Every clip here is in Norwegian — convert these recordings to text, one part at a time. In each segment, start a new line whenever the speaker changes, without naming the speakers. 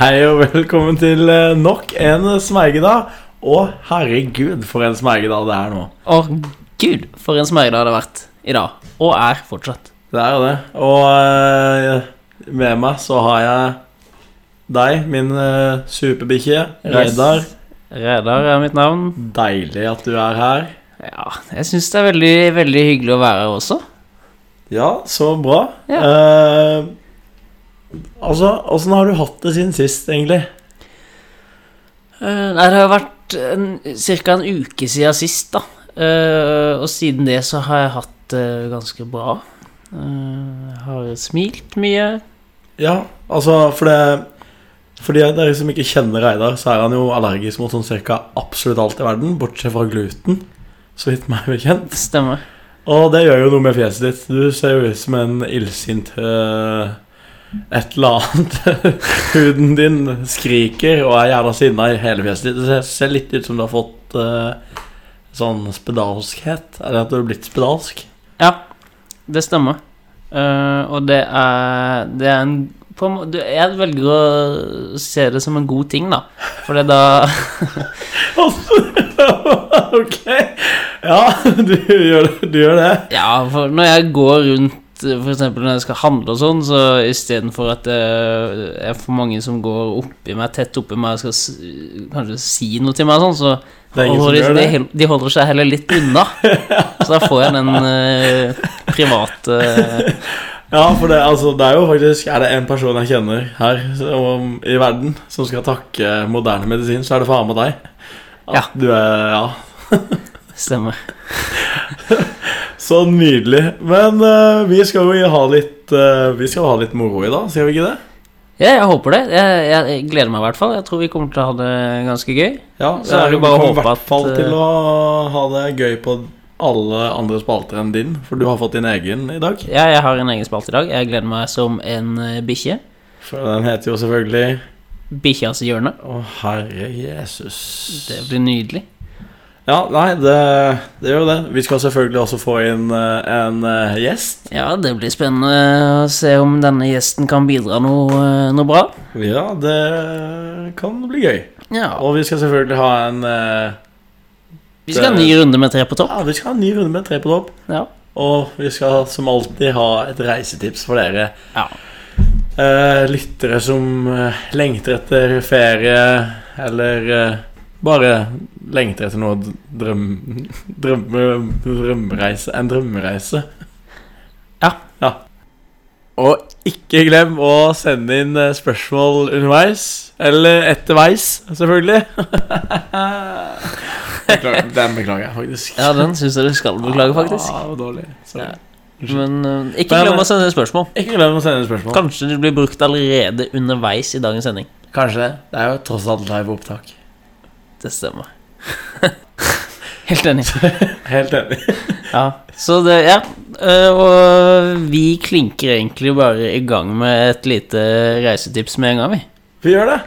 Hei og velkommen til eh, nok en smergedag. Å, herregud, for en smergedag det er nå.
Å, gud, for en smørdag det har vært i dag. Og er fortsatt.
Det er jo det. Og eh, med meg så har jeg deg, min eh, superbikkje, Reidar.
Yes. Reidar er mitt navn.
Deilig at du er her.
Ja, jeg syns det er veldig, veldig hyggelig å være her også.
Ja, så bra.
Ja.
Eh, altså, åssen har du hatt det siden sist, egentlig?
Eh, nei, det har jo vært ca. en uke siden sist, da. Eh, og siden det så har jeg hatt det ganske bra. Eh, jeg har smilt mye.
Ja, altså, for det for de av dere som ikke kjenner Reidar, så er han jo allergisk mot sånn cirka absolutt alt i verden, bortsett fra gluten, så vidt meg bekjent.
Stemmer.
Og det gjør jo noe med fjeset ditt. Du ser jo ut som en illsint eh, et eller annet. Huden din skriker og er gjerne sinna i hele fjeset ditt. Det ser, ser litt ut som du har fått eh, sånn spedalskhet. Er det at du har blitt spedalsk?
Ja, det stemmer. Eh, og det er, det er en på en må- du- Jeg velger å se det som en god ting, da. For det da
ok. Ja, du gjør, det- du gjør det.
Ja, for når jeg går rundt eh, for eksempel når jeg skal handle og sånn, så istedenfor at det er for mange som går oppi meg, tett oppi meg og skal s- kanskje si noe til meg og sånn, så
Det er ingen som
holder de,
gjør det.
de hel- de holder seg heller litt unna. Så da får jeg den eh, private eh,
Ja, for det, altså, det er jo faktisk Er det en person jeg kjenner her som, i verden som skal takke moderne medisin, så er det faen meg deg. At
Ja.
Du er, ja.
Stemmer.
Så nydelig. Men eh, vi skal jo ha litt eh, Vi skal ha litt moro i dag, skal vi ikke det?
Ja, jeg håper det. Jeg, jeg, jeg gleder meg i hvert fall. Jeg tror vi kommer til å ha det ganske gøy.
Ja,
Så er det jo bare å håpe
i hvert
at,
fall
eh,
til å ha det gøy på alle andre spalter enn din, for du har fått din egen i dag.
Ja, jeg har en egen spalte i dag. Jeg gleder meg som en eh, bikkje.
For den heter jo selvfølgelig
Bikkjas hjørne.
Å, herre Jesus.
Det blir nydelig.
Ja, nei, det, det gjør jo det. Vi skal selvfølgelig også få inn eh, en eh, gjest.
Ja, det blir spennende å se om denne gjesten kan bidra noe, eh, noe bra.
Ja, det kan bli gøy.
Ja,
Og vi skal selvfølgelig ha en eh,
Vi skal ha en ny runde med tre på topp.
Ja, vi skal ha en ny runde med Tre på topp.
Ja.
Og vi skal som alltid ha et reisetips for dere
Ja.
eh, lyttere som eh, lengter etter ferie, eller eh, bare lengter etter noe d- drøm, drømme, drømmereise En drømmereise.
Ja.
ja. Og ikke glem å sende inn eh, spørsmål underveis. Eller etterveis, selvfølgelig. beklager, den beklager jeg faktisk.
ja, den syns jeg du skal beklage, faktisk.
Ja, det var Ah, dårlig. Sorry.
Ja. Ah, Men eh, ikke
Men-
glem å sende spørsmål.
Ikke glem å sende inn spørsmål.
Kanskje det blir brukt allerede underveis i dagens sending.
Kanskje det. Det er jo tross alt live opptak.
Det stemmer. Helt enig.
Helt enig.
Ja, så det, ja. eh, Og vi klinker egentlig bare i gang med et lite reisetips med en gang, vi.
Vi gjør det.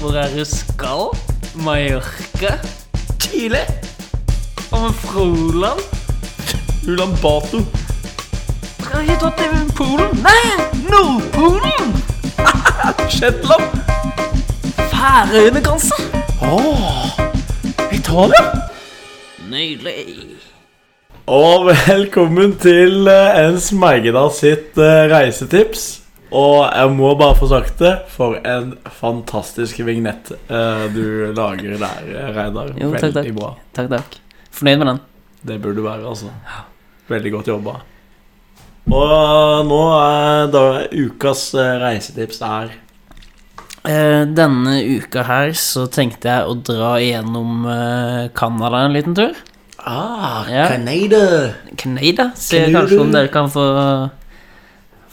Hvor er du skal? Mallorca?
Chile.
Og med Froland?
Ulan Bato.
Skal vi ta til Polen? Nei, Nordpolen!
Shetland.
Færøyene, kanskje?
Åh, Italia.
Nydelig.
Og velkommen til eh, en Smergedal sitt eh, reisetips. Og jeg må bare få sagt det, for en fantastisk vignett eh, du lager der, eh, Reidar.
Jo, takk, takk.
Veldig bra.
Takk, takk. Fornøyd med den?
Det burde du være, altså. Veldig godt jobba. Og eh, nå er da ukas eh, reisetips er
Eh, denne uka her så tenkte jeg å dra igjennom eh, Canada en liten tur.
Ah,
Ja.
Canada.
Canada. Se
Canada.
kanskje om dere kan få,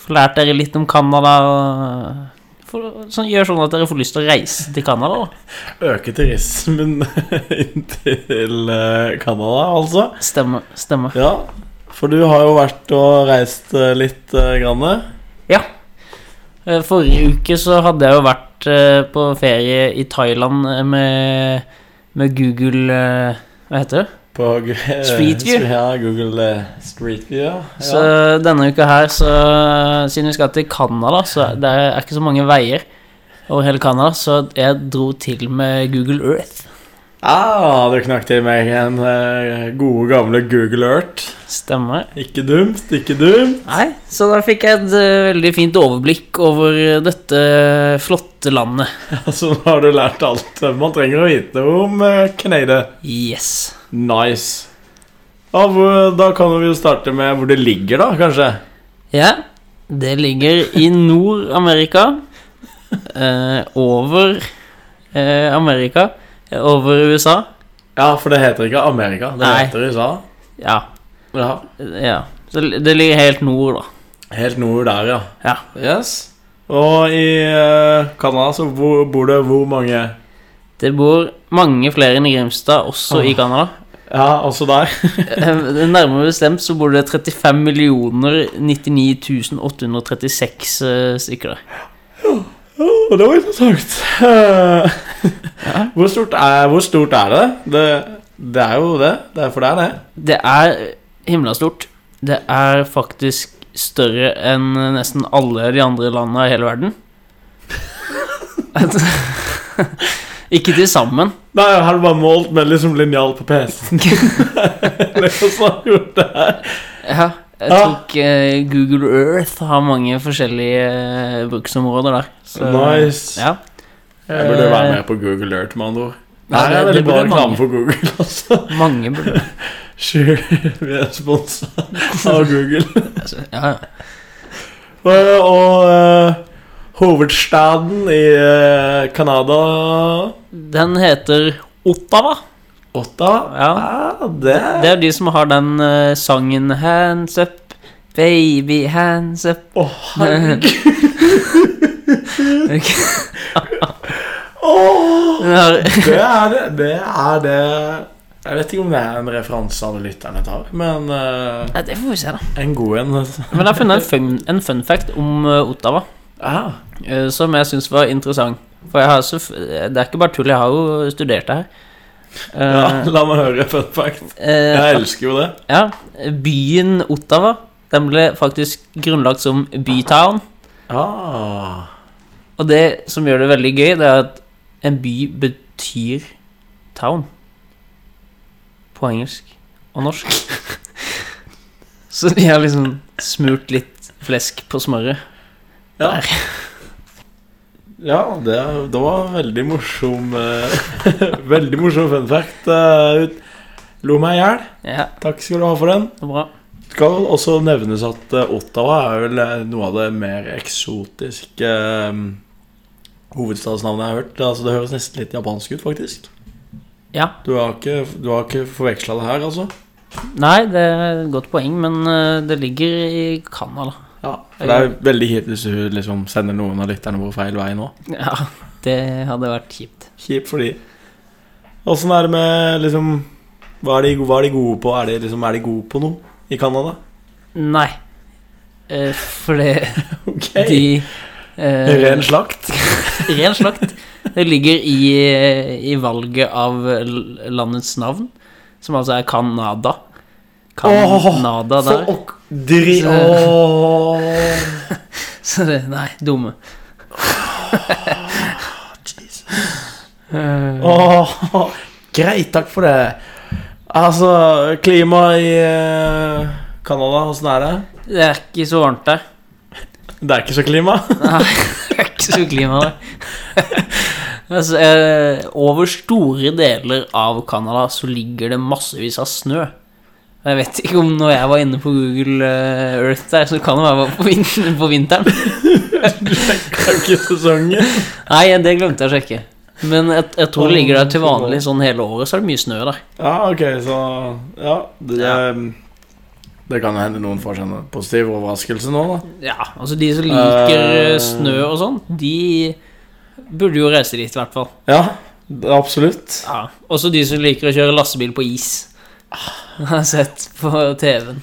få lært dere litt om Canada. og få- Sånn, gjør sånn at dere får lyst til å reise til Canada. da.
Øke turismen inn til eh, Canada, altså.
Stemmer. stemmer.
Ja, for du har jo vært og reist eh, litt eh, grann.
Eh, Forrige uke så hadde jeg jo vært eh, på ferie i Thailand eh, med, med Google eh, Hva heter det?
På gu- eh,
Street View?
Ja, Google eh, Street View, ja.
Så denne uka her, så eh, siden vi skal til Canada, så det er ikke så mange veier over hele Canada, så jeg dro til med Google Earth.
Ah, du knakk til meg en eh, gode, gamle Google Earth.
Stemmer.
Ikke dumt, ikke dumt.
Nei, så da fikk jeg et eh, veldig fint overblikk over eh, dette flotte landet.
Så nå har du lært alt man trenger å vite om eh, Canada.
Yes.
Nice. Ja, hvor, da kan vi jo starte med hvor det ligger, da, kanskje.
Ja, det ligger i Nord-Amerika. Eh, over eh, Amerika. eh, Over USA.
Ja, for det heter ikke Amerika. Det
Nei.
heter USA.
Ja.
Ja.
ja. Så det ligger helt nord, da.
Helt nord der, ja.
Ja.
Yes. Og i eh, Canada så bo- bor det hvor mange
Det bor mange flere enn i Grimstad, også i
Åh.
Canada.
Ja, også der.
Eh, Nærmere bestemt så bor det 35 millioner 99 836 eh, stykker der.
Å, det var interessant. Eh, hvor, stort er, hvor stort er det? det? Det er jo det. Derfor det er det.
Det er himla stort. Det er faktisk større enn nesten alle de andre landene i hele verden. Ikke til sammen.
Nei, jeg hadde bare målt med liksom linjal på PC-en. Eller hva som har gjort det her.
Ja, jeg
Ja.
tok eh, Google Earth har mange forskjellige eh, bruksområder der.
Nice.
Ja.
Jeg burde
Eh,
jo være med på Google Earth, med andre ord.
Ja,
Nei, det er
det-
veldig
det
bra
burde mange.
reklame for Google, altså.
Eh, Mange burde
Sure, vi er sponsa av Google.
altså, Ja, ja.
Og, og eh, hovedstaden i eh, Canada
Den heter Ottawa.
Ottawa?
Ja.
Ah, det
Det er de som har den eh, sangen 'Hands up, baby, hands up'.
Å, herregud.
Ok.
Åh,
Den har
det er det. Det er det. Jeg vet ikke om det er en referanse alle lytterne tar, men eh,
Nei, det får vi se, da.
en god en.
Men jeg har funnet en fun, en fun fact om eh, Ottawa
Ah,
eh, som jeg syns var interessant. For jeg har så, f- eh, det er ikke bare tull, jeg har jo studert det her. Eh,
ja, la meg høre fun fact.
eh,
Jeg elsker jo det.
ja, byen Ottawa den ble faktisk grunnlagt som bytown.
Ah.
Og det som gjør det veldig gøy, det er at en by betyr town. På engelsk og norsk. Så de har liksom smurt litt flesk på smøret.
Ja. Ja, det, det var veldig morsom eh, Veldig morsom fun fact. eh, ut. Lo meg i hjel.
Ja,
Takk skal du ha for den.
det er bra.
Det skal vel også nevnes at eh, Ottawa er vel eh, noe av det mer eksotiske eh, hovedstadsnavnet jeg har hørt. Altså, det høres nesten litt japansk ut, faktisk.
Ja.
Du har ikke, du har ikke forveksla det her, altså?
Nei, det er et godt poeng, men eh, det ligger i Canada.
Ja, for Det er veldig kjipt hvis du liksom sender noen av lytterne våre feil vei nå.
Ja, det hadde vært kjipt.
Kjipt for de. Åssen er det med liksom hva er, de, hva er de gode på? Er de, liksom, er de gode på noe i Canada?
Nei. Eh, Fordi
Ok.
de eh,
Ren slakt?
Ren slakt. Det ligger i, i valget av l- landets navn, som altså er Canada. Canada
Så
der.
ok- dri...
Så-
Åh.
Så det, nei, dumme. Eh,
Åh, Greit, takk for det. Altså, klimaet i eh, Canada, åssen er det?
Det er ikke så varmt der.
Det er ikke så klima.
Nei, det er ikke så klima der. altså, eh, over store deler av Canada så ligger det massevis av snø. Jeg vet ikke om når jeg var inne på Google eh, Earth der, så kan det være på, vin på vinteren.
Du tenker jo ikke sesongen.
Nei, det glemte jeg å sjekke. Men jeg, jeg tror det ligger der til vanlig sånn hele året, så er det mye snø der.
Ja, ok, så Ja. Det, ehm,
Ja.
det kan hende noen får seg en positiv overraskelse nå, da.
Ja, altså de som liker eh,
Eh.
snø og sånn, de burde jo reise dit i hvert fall.
Ja, det- absolutt.
Ja. Ah. Også de som liker å kjøre lastebil på is. Jeg har sett på TV-en.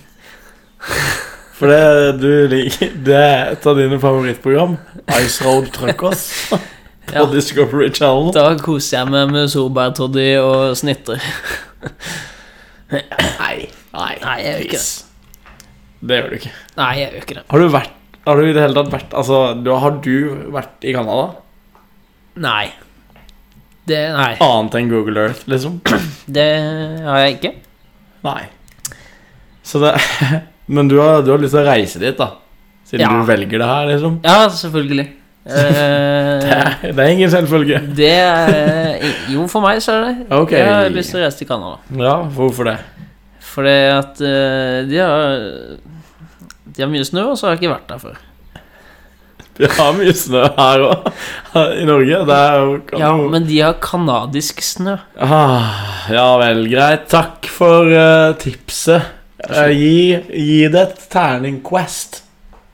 For det du liker Det er et av dine favorittprogram. Ice Road Truckers på
Ja.
Discovery Channel.
Da koser jeg meg med solbærtoddy og snitter.
Nei. Nei,
Nei, jeg gjør ikke
please. Det gjør du ikke.
Nei, jeg gjør ikke det.
Har du vært Har du i det hele tatt vært Altså, du, har du vært i Canada?
Nei. Det, nei.
Annet enn Google Earth, liksom?
det har jeg ikke.
Nei. Så det Men du har, du har lyst til å reise dit, da? Siden
Ja.
du velger det her, liksom?
Ja, selvfølgelig.
Det,
Eh,
er- det er ingen selvfølge.
det er Jo, for meg så er det
Ok.
Jeg har lyst til å reise til Canada.
Ja, hvorfor det?
Fordi at eh, de har De har mye snø, og så har jeg ikke vært der før.
Vi har mye snø her òg, i Norge. Det er jo
Ja, Men de har canadisk snø.
ah, ja vel, greit. Takk for eh, tipset. Eh, gi, gi det et terning quest.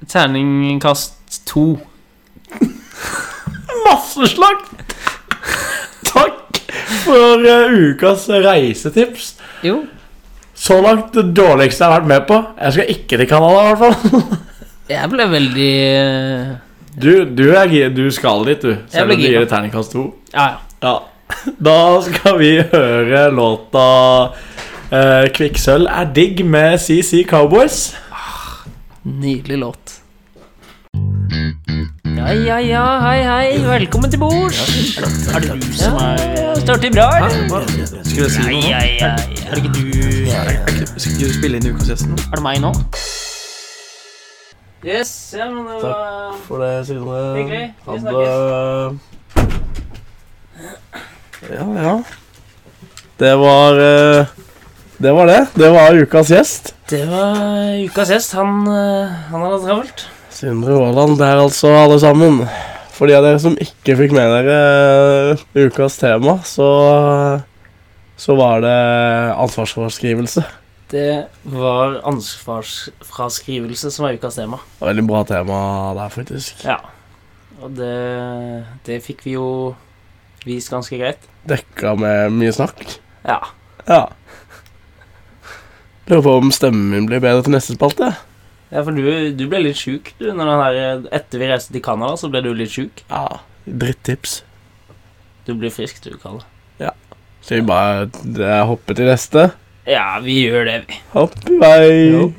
Terningkast to.
Masseslakt! Takk for eh, ukas reisetips.
Jo,
Så langt det dårligste jeg har vært med på. Jeg skal ikke til Canada, i hvert fall.
jeg ble veldig eh,
Du, du, er, gi- du skal dit, du.
Jeg
Selv
blir
om du gir
gira.
det terningkast to.
Ja, ja.
Ja. Da skal vi høre låta eh, 'Kvikksølv er digg' med CC Cowboys.
Nydelig låt. Ja, ja, ja, hei, hei. Velkommen til bords.
Er det du som er
Ja, eh, Starter bra, eller?
Skulle jeg si noe? nå?
Ja, ja, ja.
Er det ikke du Er det ikke- Skal ikke du spille inn Ukas gjest nå? Er det meg nå?
Yes, ja, men det var
For det, Sindre.
Hyggelig. Vi
Ha
snakkes.
det. Ja, ja. Det var eh, Det var det. Det var ukas gjest.
Det var ukas gjest. Han, eh, han hadde travelt.
Sindre Aaland der, altså, alle sammen. For de av dere som ikke fikk med dere eh, ukas tema, så så var det ansvarsforskrivelse.
Det var ansvarsfraskrivelse som var ukas tema.
Det var Veldig bra tema der, faktisk.
Ja. Og det, det fikk vi jo vist ganske greit.
Dekka med mye snakk.
Ja.
Ja. Lurer på om stemmen min blir bedre til neste spalte.
ja for du, du ble litt sjuk, du. Når den her, etter vi reiste til Canada, så ble du litt sjuk.
Ja, Drittips.
Du blir frisk, du, Kalle.
Skal vi bare eh, hoppe til neste?
Ja, vi gjør det, vi.
Hopp i vei.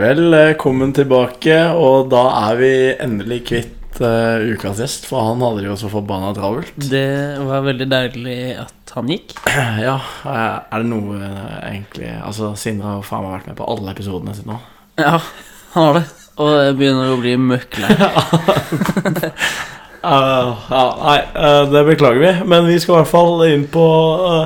Velkommen eh, tilbake, og da er vi endelig kvitt eh, ukas gjest, for han hadde det jo så forbanna travelt.
Det var veldig deilig at han gikk.
Ja, eh, er det noe eh, egentlig Altså, Sindre har jo faen meg vært med på alle episodene sine nå.
Ja, han har det. Og jeg begynner å bli møkk lei.
Eh, ja, nei, eh, det beklager vi, men vi skal i hvert fall inn på eh,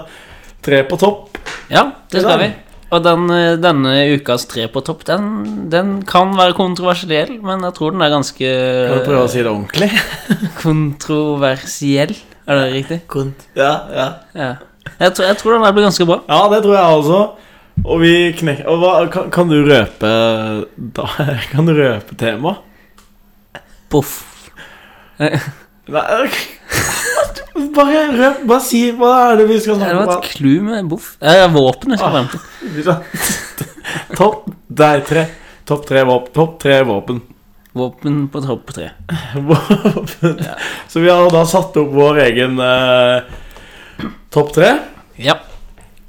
Tre på topp.
Ja, det skal vi. Og den, eh, denne ukas tre på topp, den, den kan være kontroversiell, men jeg tror den er ganske
Kan du prøve å si det ordentlig?
kontroversiell. Er det riktig?
Ja, ja.
Ja. Jeg tror, jeg tror den her blir ganske bra.
ja, det tror jeg også. Og vi knekker og hva, kan, kan du røpe da, Kan du røpe temaet?
Poff.
Nei Bare røp, bare si Hva er det vi skal
Det
snakke om?
var et clou med boff. Eh, våpenet skal frem til.
Vi skal- Topp Der, tre Topp tre våpen Topp tre våpen
Våpen på topp tre.
Våpen. Så vi har da satt opp vår egen eh, Topp tre
Ja,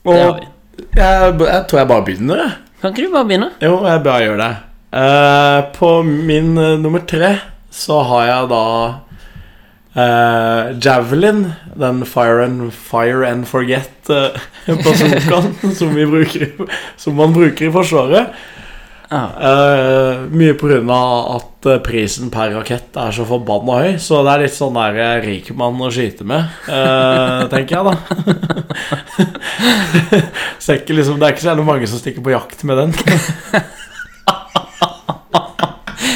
det har
Og
vi.
jeg, jeg tror jeg bare begynner jeg.
Kan ikke du bare begynne?
Jo, jeg bare gjør det Eh, På min eh, nummer tre Så har jeg da eh, Javelin Den Fire and, fire and Forget uh, Bazookaen som, vi bruker, i- som man bruker i forsvaret
Ja.
Eh, mye på grunn av at eh, prisen per rakett er så forbanna høy, så det er litt sånn der eh, rik mann å skyte med, eh, tenker jeg, da. så det er ikke liksom, det er ikke så jævlig mange som stikker på jakt med den.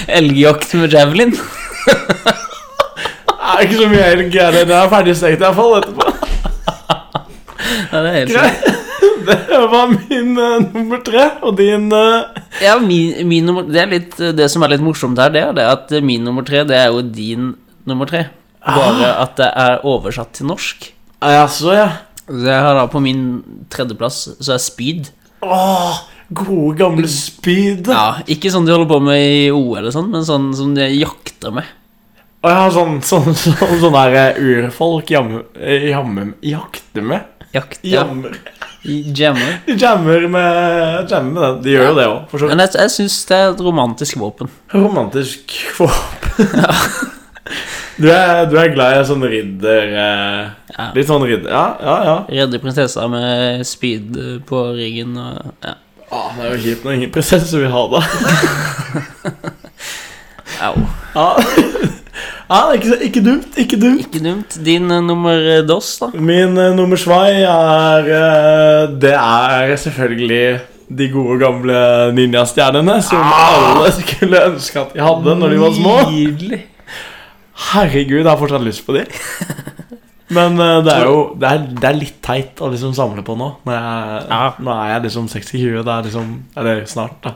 Elgjakt med javelin.
Det er ikke så mye elg, er det. Den er ferdigstekt i hvert fall etterpå.
Ja, det er helt sant.
Greit. Det var min eh, nummer tre, og din eh,
Ja, min, min nummer, det, er litt, det som er litt morsomt her, det er det at min nummer tre, det er jo din nummer tre. Bare at det er oversatt til norsk.
Jaså, ja.
Så jeg har da på min tredjeplass, så er spyd.
Åh, gode, gamle spyd.
Ja, Ikke sånn de holder på med i OL eller sånn, men sånn som de jakter med.
Og jeg har sånn, sånn, sånn, sånn der eh, urfolk jamme, eh, jamme, jakter med.
Jakt, ja.
Jammer.
I- Jammer.
De jammer med, jammer med den. De gjør jo det òg, for så
Men jeg, jeg syns det er et romantisk våpen.
vidt. Romantisk håp. Du er, du er glad i sånn ridder eh,
Ja.
Litt sånn ridder Ja, ja, ja.
Redde prinsessa med spyd eh, på ryggen og ja.
Ah, det er jo kjipt når ingen prinsesse vil ha det.
Au.
Ja, ja det er ikke, så- ikke dumt. Ikke dumt.
Ikke dumt. Din eh, nummer eh, dos, da?
Min eh, nummer svai er eh, Det er selvfølgelig de gode gamle ninjastjernene som alle skulle ønske at de hadde når de var små.
Nydelig.
Herregud, jeg har fortsatt lyst på de. Men eh, det er jo det er, det er litt teit å liksom samle på nå. Når jeg,
Ja.
Nå er jeg liksom 60-20. Det er liksom Eller snart, da.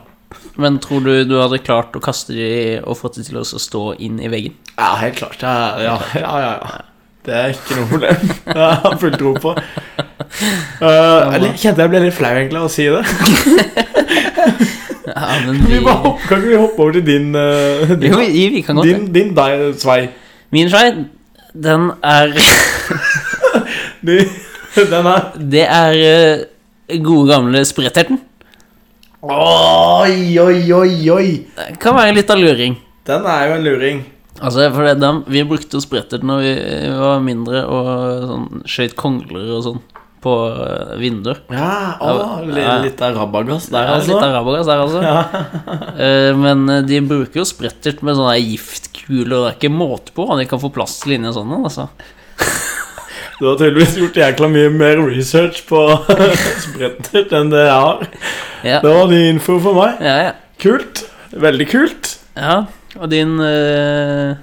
Men tror du du hadde klart å kaste de og fått de til å stå inn i veggen?
Ja, helt klart. Ja, ja, ja. ja, ja. Det er ikke noe problem. Jeg har full tro på. Eh, eller, jeg kjente jeg ble litt flau egentlig av å si det.
Ja, men
Vi
vi,
bare hopper, kan ikke vi hoppe over til din eh,
jo,
din,
vi, vi kan godt
din, din deg, Svei?
Min svei, den er
Din- Den er
Det er eh, gode gamle spretterten.
Oi, oi, oi, oi!
Det Kan være litt av luring.
Den er jo en luring.
Altså, for det, dem- Vi brukte jo spretterten når vi eh, var mindre og sånn, skjøt kongler og sånn på eh, vinduer.
Ja, å, li-
Ja.
litt av rabagass
Det
der,
er litt
altså.
araberes der, altså. Eh, men eh, de bruker jo sprettert med sånne giftkuler. Det er ikke måte på hva de kan få plass til inni sånne. Altså.
Du har tydeligvis gjort jækla mye mer research på sprinter enn det jeg har.
Ja.
Det var ny info for meg.
Ja, ja.
Kult. Veldig kult.
ja. Og din eh,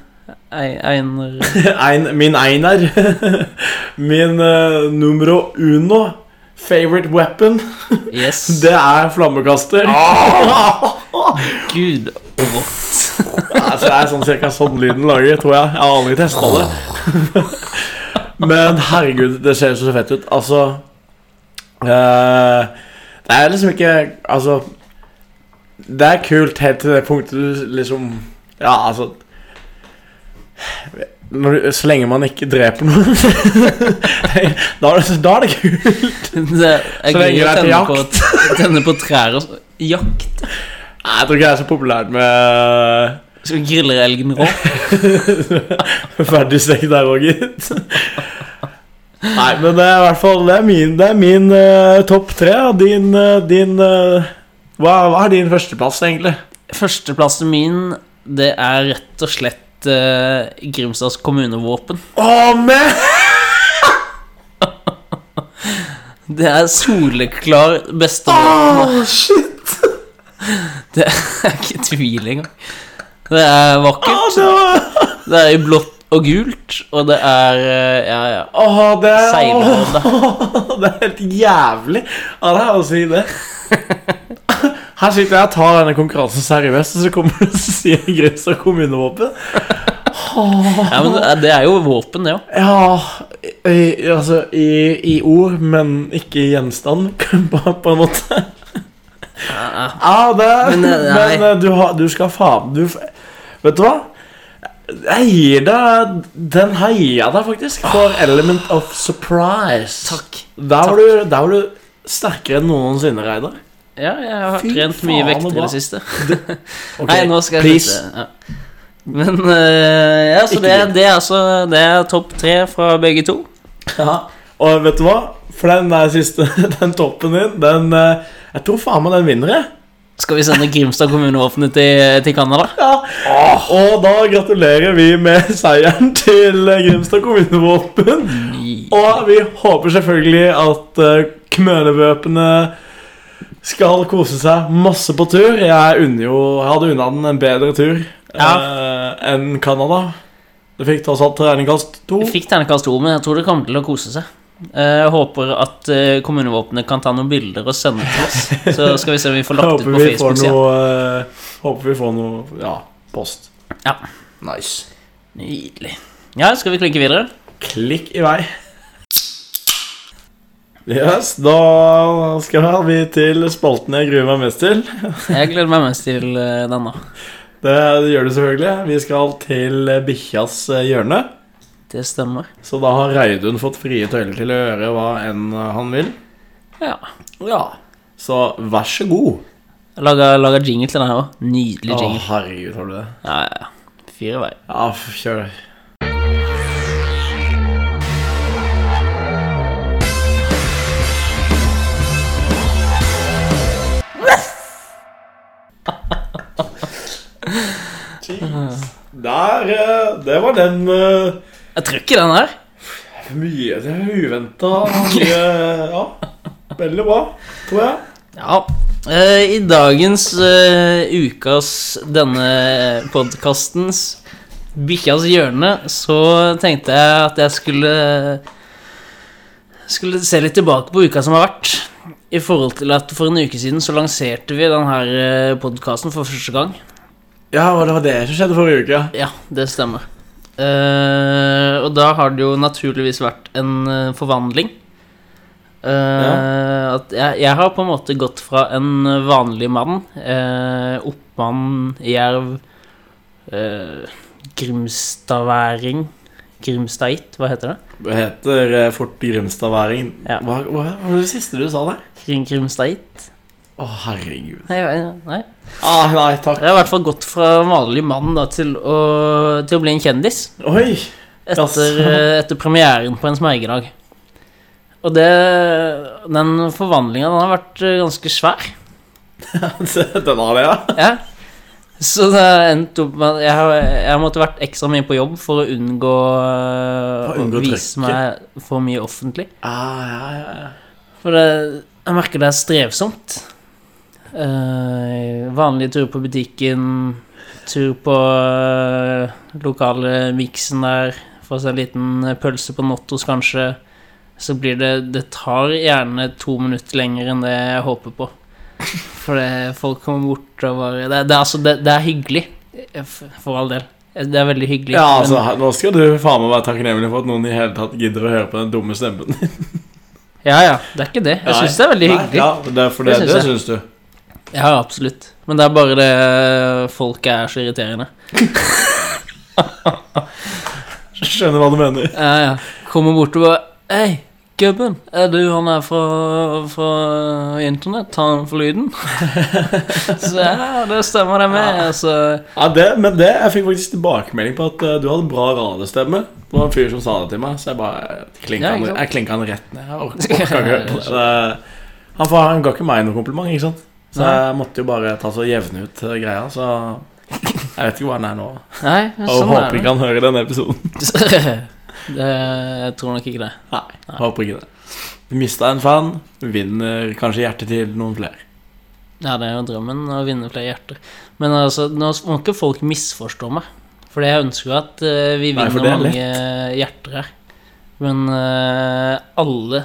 Ei- Einar
Ein, min Einar. Min eh, numero uno favorite weapon,
Yes.
det er flammekaster.
Gud.
altså, det er sånn cirka sånn lyden lager, tror jeg. Jeg har aldri testa det. Men herregud, det ser så fett ut. Altså eh, Det er liksom ikke Altså Det er kult helt til det punktet du liksom Ja, altså når du, Så lenge man ikke dreper noen, da, er det, da er det kult.
Det er
Så lenge
gøy
det
å
er til
tenne på, tenne på trær og så- Jakt?
Nei, Jeg tror ikke det er så populært med
Så griller elgen rå?
Ferdigstekt der òg, gitt. Nei, men det er i hvert fall Det er min, det er min eh, topp tre. og Din, eh, din eh, hva, hva er din førsteplass, egentlig?
Førsteplassen min, det er rett og slett eh, Grimstads kommunevåpen.
Å, men!
Det er soleklar beste våpen.
Å, shit!
Det er ikke tvil engang. Det er vakkert.
Å, det, var,
Det er i blått og gult, og det er eh, Ja, ja.
å, det, å,
Seilhånda.
det er helt jævlig av deg å si det. Her sitter jeg og tar denne konkurransen seriøst, og så kommer du og sier Grimstad kommunevåpen.
ja men det er- det er jo våpen, det òg.
Ja i, Altså i, i ord, men ikke i gjenstand, på, på en måte. Ja, det
Men,
Men,
eh, nei.
eh, du, har, du skal faen du, f- Vet du hva? Jeg gir deg Den her gir jeg deg faktisk for element of surprise.
Ah. Takk.
Der var du, der var du sterkere enn noensinne, Reidar.
Ja, jeg har
Fy
trent mye
faen,
vekt
og
i
bra.
det siste.
Ok,
Nei, nå skal jeg
please.
slutte. Ja. Men eh, ja, så
Ikke
det,
det.
det er altså Det er topp tre fra begge to.
Ja. Og vet du hva? For den der siste, den toppen din, den eh, Jeg tror faen meg den vinner, jeg.
Skal vi sende Grimstad kommunevåpenet til, til Canada?
Ja. Og da gratulerer vi med seieren til eh, Grimstad kommunevåpen. Og vi håper selvfølgelig at eh, Kmølevøpene skal kose seg masse på tur. Jeg, unner jo, jeg hadde unna den en bedre tur eh, enn Canada. Det fikk tross alt regningkast to.
Vi fikk ternekast to, men jeg tror det kommer til å kose seg. Eh, Jeg håper at eh, kommunevåpenet kan ta noen bilder og sende til oss. Så skal vi se om vi får
Jeg
lagt ut
håper
på
vi, får
Facebook.
noe, eh, håper vi får noe ja, post.
Ja.
Nice.
Nydelig. Ja, skal vi klinke videre?
Klikk i vei. Yes, da skal vi til spalten jeg gruer meg mest til.
Jeg gleder meg mest til eh, denne.
Det, gjør du selvfølgelig. Vi skal til eh, bikkjas eh, hjørne.
Det stemmer.
Så da har Reidun fått frie tøyler til å gjøre hva enn han vil.
Ja.
Ja. Så vær så god.
Jeg lager, lager jingle til den her òg. Nydelig
Å,
jingle.
herregud, har du det?
Ja, ja, ja. Fire veier.
Ja, f- kjør. Jeez. Der eh, Det var den eh,
Jeg tror ikke den her.
Mye det er uventa. Mye Ja. Veldig bra, tror jeg.
Ja. eh, I dagens eh, ukas denne eh, podkastens Bikkjas hjørne så tenkte jeg at jeg skulle Skulle se litt tilbake på uka som har vært. I forhold til at For en uke siden så lanserte vi denne podkasten for første gang.
Ja, og det var det som skjedde forrige uke.
Ja, det stemmer. Eh, og da har det jo naturligvis vært en eh, forvandling. Eh, At jeg, jeg har på en måte gått fra en vanlig mann, eh, oppmann, jerv, eh, grimstadværing Grimstadit, hva heter det?
Det heter eh, Fort Grimstadværing.
Ja.
Hva, hva, hva var det siste du sa der?
Grim, grimstadit?
Å, herregud.
Nei, nei, nei.
Ah, nei, takk.
Jeg har i hvert fall gått fra vanlig mann da, til, å, til å bli en kjendis.
Oi!
etter,
Jaså.
eh, etter premieren på en smergedag. Og det, den forvandlinga den har vært eh, ganske svær.
Den har det, ja.
Ja. Så det har endt opp med at jeg, har, jeg har måttet vært ekstra mye på jobb for å unngå eh,
For å unngå
å vise
trøkket.
meg for mye offentlig.
Ah, ja, ja, ja.
For det, jeg merker det er strevsomt. Eh, vanlig tur på butikken, tur på eh, lokale miksen der, få seg en liten pølse på Nottos kanskje. Så blir det Det tar gjerne to minutter lenger enn det jeg håper på. For det, folk kommer bort og bare Det, det, er altså, det, det er hyggelig, eh, for for all del. Det er veldig hyggelig.
ja
men-
altså, her- nå skal du faen meg være takknemlig for at noen i hele tatt gidder å høre på den dumme stemmen.
ja, ja, det er ikke det. Jeg syns det er veldig
Nei,
hyggelig.
Ja, det, er for det,
Det syns
det,
jeg.
syns du.
Ja, absolutt. Men det er bare det eh, Folk er så irriterende.
Skjønner hva du mener.
Ja, ja. Kommer bort og bare Hei, gubben. Er du han er fra, fra internett? Han for lyden? så ja, det stemmer det med. Altså,
Ja, det, men det, Jeg fikk faktisk tilbakemelding på at eh, du hadde en bra radiostemme. Det var en fyr som sa det til meg, så jeg bare klinka,
Ja, ikke
han,
sant?
jeg klinka han rett ned. Jeg orka ikke å høre på det. det. Han, fa- han ga ikke meg noe kompliment, ikke sant? Så
Nei.
jeg måtte jo bare ta så jevne ut eh, greia, så jeg vet ikke hvor han er nå.
nei,
Og
sånn
håper
er
ikke han hører denne episoden.
det. det. Jeg tror nok ikke det.
Nei, håper ikke det. Mista en fan, vinner kanskje hjertet til noen flere.
Ja, det er jo drømmen å vinne flere hjerter. Men altså, nå må ikke folk misforstå meg. For jeg ønsker jo at eh, vi
Nei, for
vinner
det er
mange hjerter her. Men eh, alle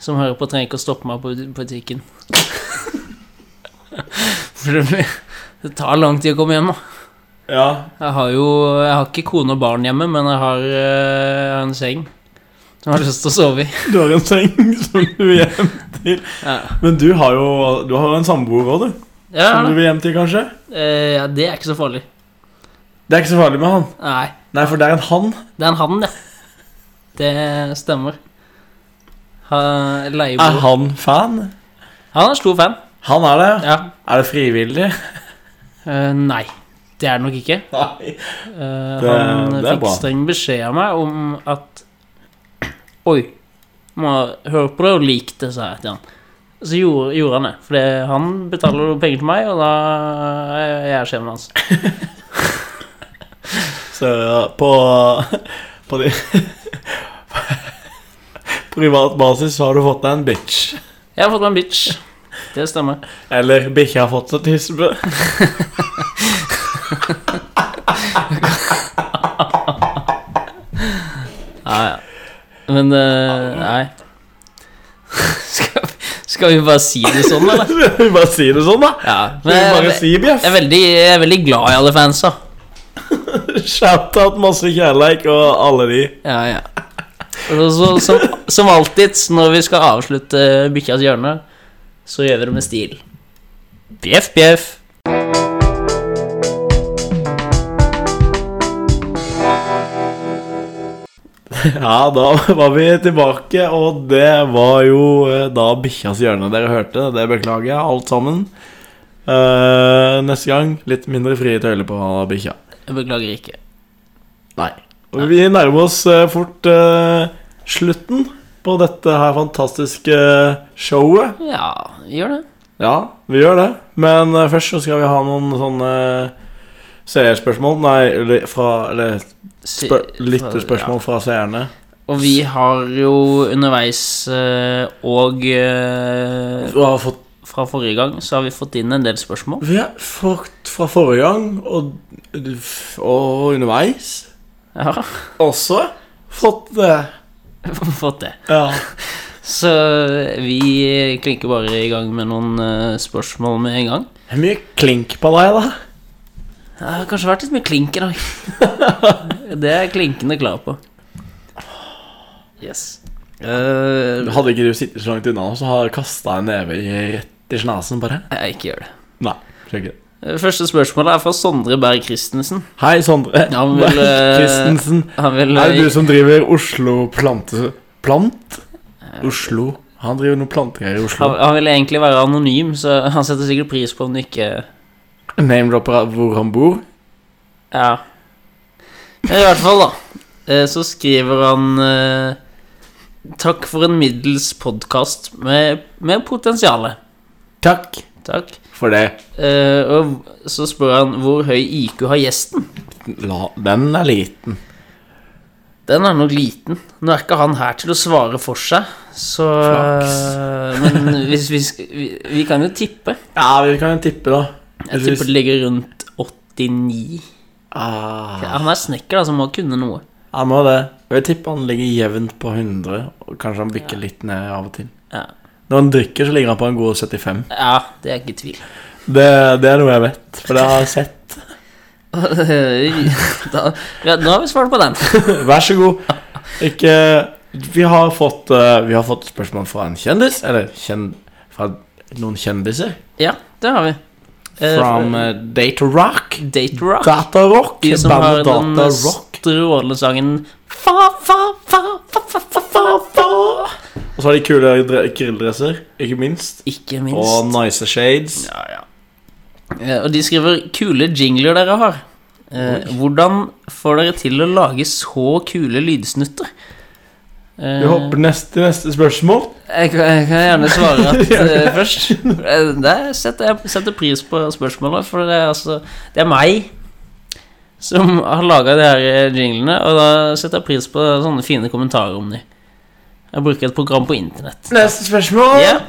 som hører på, trenger ikke å stoppe meg på bu- butikken. for det, blir, det tar lang tid å komme hjem, da.
Ja,
Jeg har jo Jeg har ikke kone og barn hjemme, men jeg har, eh, jeg har en seng som jeg har lyst til å sove i.
du har en seng som du vil hjem til.
Ja,
Men du har jo du har jo en samboer òg, du.
ja,
Som du
da.
vil hjem til, kanskje?
Eh, ja det er ikke så farlig.
Det er ikke så farlig med han.
Nei.
Nei, for det er en han.
Det er en han, ja. Det stemmer. Ha,
Er
leiebo.
han fan?
Han er en stor fan.
Han er det.
Ja.
Er det frivillig?
Eh, nei, det er det nok ikke.
Nei.
Eh,
Det-
han
det er
fikk
bra.
streng beskjed av meg om at Oi, må høre på det og like det, sa jeg til han. Så gjorde, gjorde han det. For han betaler jo penger til meg, og da er jeg sjefen hans.
Så på På de på Privat basis så har du fått deg en bitch.
Jeg har fått meg en bitch. Det stemmer.
Eller bikkja har fått seg tispe.
Ja, ja. Men eh, Nei. skal, skal vi bare si det sånn, eller?
Vi bare si det sånn, da.
Ja,
Vi
men jeg,
bare
jeg,
si bjeff.
er veldig, jeg er veldig glad i alle fansa.
Shout-out masse kjærleik og alle de.
Ja, ja. Og så, som, som alltid når vi skal avslutte Bikkjas hjørne, så gjør vi det med stil. Bjeff, bjeff.
Ja, da var vi tilbake, og det var jo eh, da bikkjas hjørne dere hørte. Det beklager jeg, alt sammen. Eh, neste gang litt mindre frie tøyler på bikkja.
Jeg beklager ikke.
Nei. Og vi nærmer oss eh, fort eh, slutten på dette her fantastiske showet.
Ja, gjør det.
Ja, vi gjør det. Men eh, først så skal vi ha noen sånne seerspørsmål Nei, eller fra Eller
Se-
spør, lytterspørsmål fra seerne.
Ja. Og vi har jo underveis eh, og eh,
Du har fått
fra forrige gang så har vi fått inn en del spørsmål.
Vi har fått fra forrige gang og, og underveis
Ja,
også fått det.
fått det.
Ja.
Så vi klinker bare i gang med noen eh, spørsmål med en gang.
Det er mye klink på deg, da.
Det har kanskje vært litt mye klink i dag. Det er klinkende klar på. Yes. Eh,
Hadde ikke du sittet så langt unna, så hadde jeg kasta en neve i- rett i snasen på deg.
nei, ikke gjør det.
Nei. tror jeg ikke det.
Eh, Første spørsmål er fra Sondre Berg Christensen.
Hei, Sondre.
Ja, men vel, eh,
Christensen.
Han vil
Er det du som driver Oslo plante... Plant? Oslo. Han driver noen plantegreier i
Han,
Oslo.
han ville egentlig være anonym, så han setter sikkert pris på om du ikke
Name-dropper av hvor han bor.
Ja. Men I hvert fall, da. eh, Så skriver han eh, Takk for en middels podkast med, med potensial.
Takk
Takk.
for det.
Eh, og så spør han hvor høy IQ har gjesten.
La, den er liten.
Den er nok liten. Nå er ikke han her til å svare for seg, så eh, Men hvis vi, sk- vi, vi kan jo tippe.
Ja, vi kan tippe, da.
Jeg tipper det ligger rundt 89.
Ah,
Han er snekker, da, så må kunne noe.
han må det. Og Jeg tipper han ligger jevnt på 100, og kanskje han bikker litt ned av og til.
Ja.
Når han drikker, så ligger han på en god 75.
Ja, det er ikke tvil.
Det, det er noe jeg vet, for det har jeg sett.
da, ja, nå har vi svart på den.
Vær så god. Ikke Vi har fått, eh, vi har fått spørsmål fra en kjendis, eller kjen, fra noen kjendiser.
Ja, det har vi. Eh,
From eh, Data Rock.
Date Rock.
Data Rock.
De som har
Bandet
den
Data Rock.
strålende sangen fa, fa, fa, fa, fa, fa, fa, fa.
Og så har de kule dre- grilldresser, ikke minst.
Ikke minst.
Og nice shades.
Ja, ja. Eh, Og de skriver 'kule jingler dere har'. Eh, hvordan får dere til å lage så kule lydsnutter? Eh,
Vi hopper neste, til neste spørsmål.
jeg, kan- jeg kan gjerne svare at, eh, først. Eh, Det setter jeg setter pris på spørsmålet, for det er, altså, det er meg som har laga de her eh, jinglene, og da setter jeg pris på sånne fine kommentarer om de. Jeg bruker et program på internett.
Neste spørsmål.
Ja.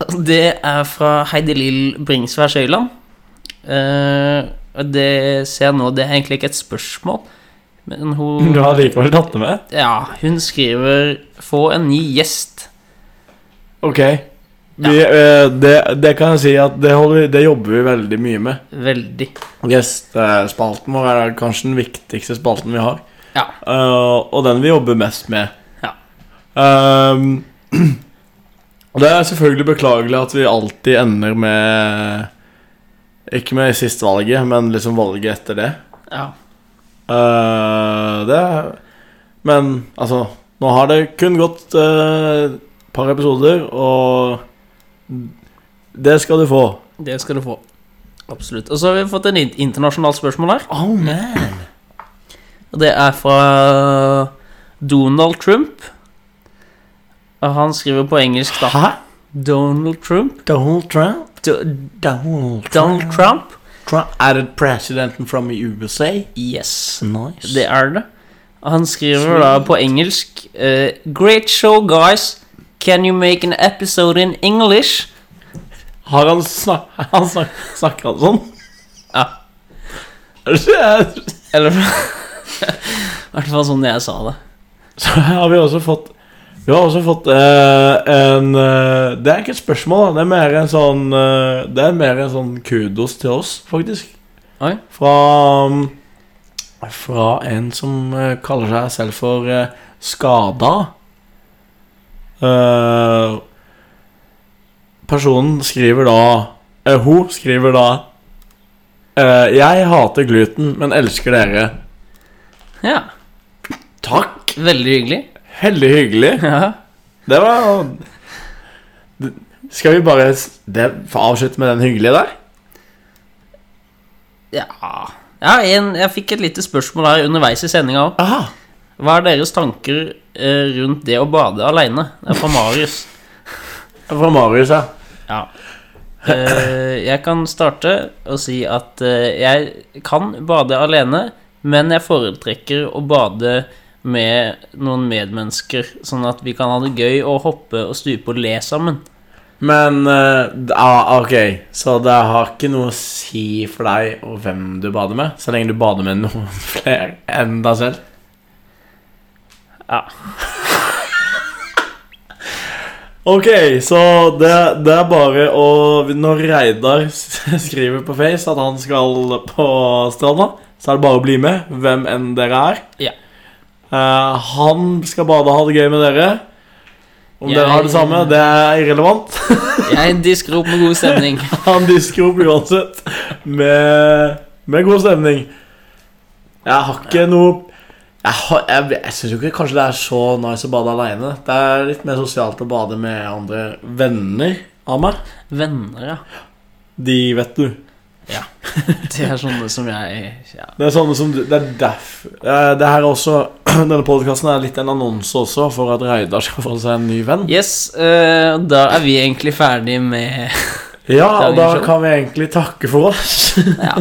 Altså, Det er fra Heidi Lill Bringsvær Søyland. Eh, og det ser jeg nå, det er egentlig ikke et spørsmål, men hun
Du har likevel tatt det med?
Ja, hun skriver 'Få en ny gjest'.
Ok. Vi, eh, det, det kan jeg si at det, holder, vi- det jobber vi veldig mye med.
Veldig.
Gjestespalten vår er kanskje den viktigste spalten vi har.
Ja.
Eh, og den vi jobber mest med.
Ja.
Ehm, og det er selvfølgelig beklagelig at vi alltid ender med Ikke med siste valget, men liksom valget etter det.
Ja.
Eh, det er- Men altså Nå har det kun gått et par episoder, og det skal du få.
Det skal du få. Absolutt. Og så har vi fått en in- internasjonalt spørsmål her.
Oh man
Og det er fra Donald Trump. Og han skriver på engelsk, da.
Hæ?
Donald Trump?
Donald Trump?
Do-
Donald
Donald Trump?
Trump. Er det presidenten from USA?
Yes.
Nice.
Det er det. Og han skriver da på engelsk eh, Great show, guys. Can you make an episode in English?
Har han, snak han snak snakker han sånn?
Ja.
Så
Eller I hvert fall sånn jeg sa det.
har vi også fått Vi har også fått eh, en eh, Det er ikke et spørsmål, da. Det er mer en sånn eh, Det er mer en sånn kudos til oss, faktisk.
Oi.
Fra um, Fra en som eh, kaller seg selv for eh, Skada. Eh, personen skriver da eh, Hun skriver da eh, Jeg hater gluten, men elsker dere.
Ja.
Takk! takk!
Veldig hyggelig.
Veldig hyggelig.
Ja.
Det var Det- Skal vi bare s- det, få avslutte med den hyggelige der?
Ja, ja en, Jeg fikk et lite spørsmål her underveis i sendinga òg.
Aha.
Hva er deres tanker eh, rundt det å bade aleine? Det er fra Marius.
Fra Marius, ja.
Ja. Eh, jeg kan starte og si at eh, jeg kan bade alene, men jeg foretrekker å bade med noen medmennesker, sånn at vi kan ha det gøy og hoppe og stupe og le sammen.
Men eh, ah, Ok, så det har ikke noe å si for deg og hvem du bader med, så lenge du bader med noen flere enn deg selv?
Ja.
Ok, så det, det er bare å Når Reidar s- skriver på Face at han skal på stranda, så er det bare å bli med, hvem enn dere er.
Ja.
Eh, han skal bade og ha det gøy med dere. Om
Jeg-
dere har det samme, det er irrelevant.
Jeg disker opp med god stemning.
Han disker opp uansett med, med god stemning. Jeg har ikke noe Jeg, har- jeg, jeg syns jo ikke kanskje det er så nice å bade aleine. Det er litt mer sosialt å bade med andre venner av meg.
Venner, ja.
De vet du.
Det er sånne som jeg ja.
Det er sånne som du- Det er deff. eh, Det her er også Denne podkasten er litt en annonse også for at Reidar skal få seg en ny venn.
Yes, eh, da er vi egentlig ferdig med
Ja, og da
Dagens show.
kan vi egentlig takke for oss.
Ja.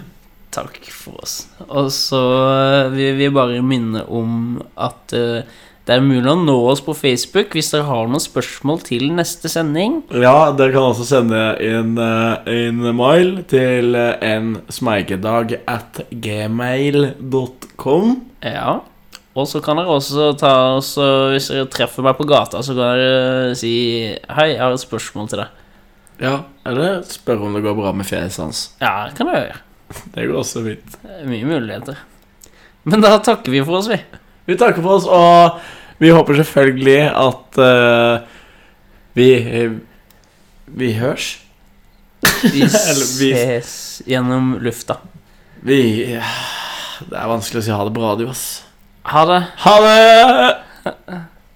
Takk for oss. Og så eh, vil vi bare minne om at eh, det er mulig å nå oss på Facebook hvis dere har noen spørsmål til neste sending.
Ja, dere kan også sende inn eh, en mail til eh, en smeikedag at gmail.com.
Ja. Og så kan dere også ta oss og Hvis dere treffer meg på gata, så kan dere eh, si Hei, jeg har et spørsmål til deg.
Ja, eller spørre om det går bra med fjeset hans.
Ja, det kan dere gjøre.
Det går også fint.
Det er Mye muligheter. Men da takker vi for oss, vi.
Vi takker for oss, og vi håper selvfølgelig at eh, vi Vi hørs.
Vi
Eller vi-
ses gjennom lufta.
Vi eh, Det er vanskelig å si ha det på radio, ass.
Ha det.
Ha det!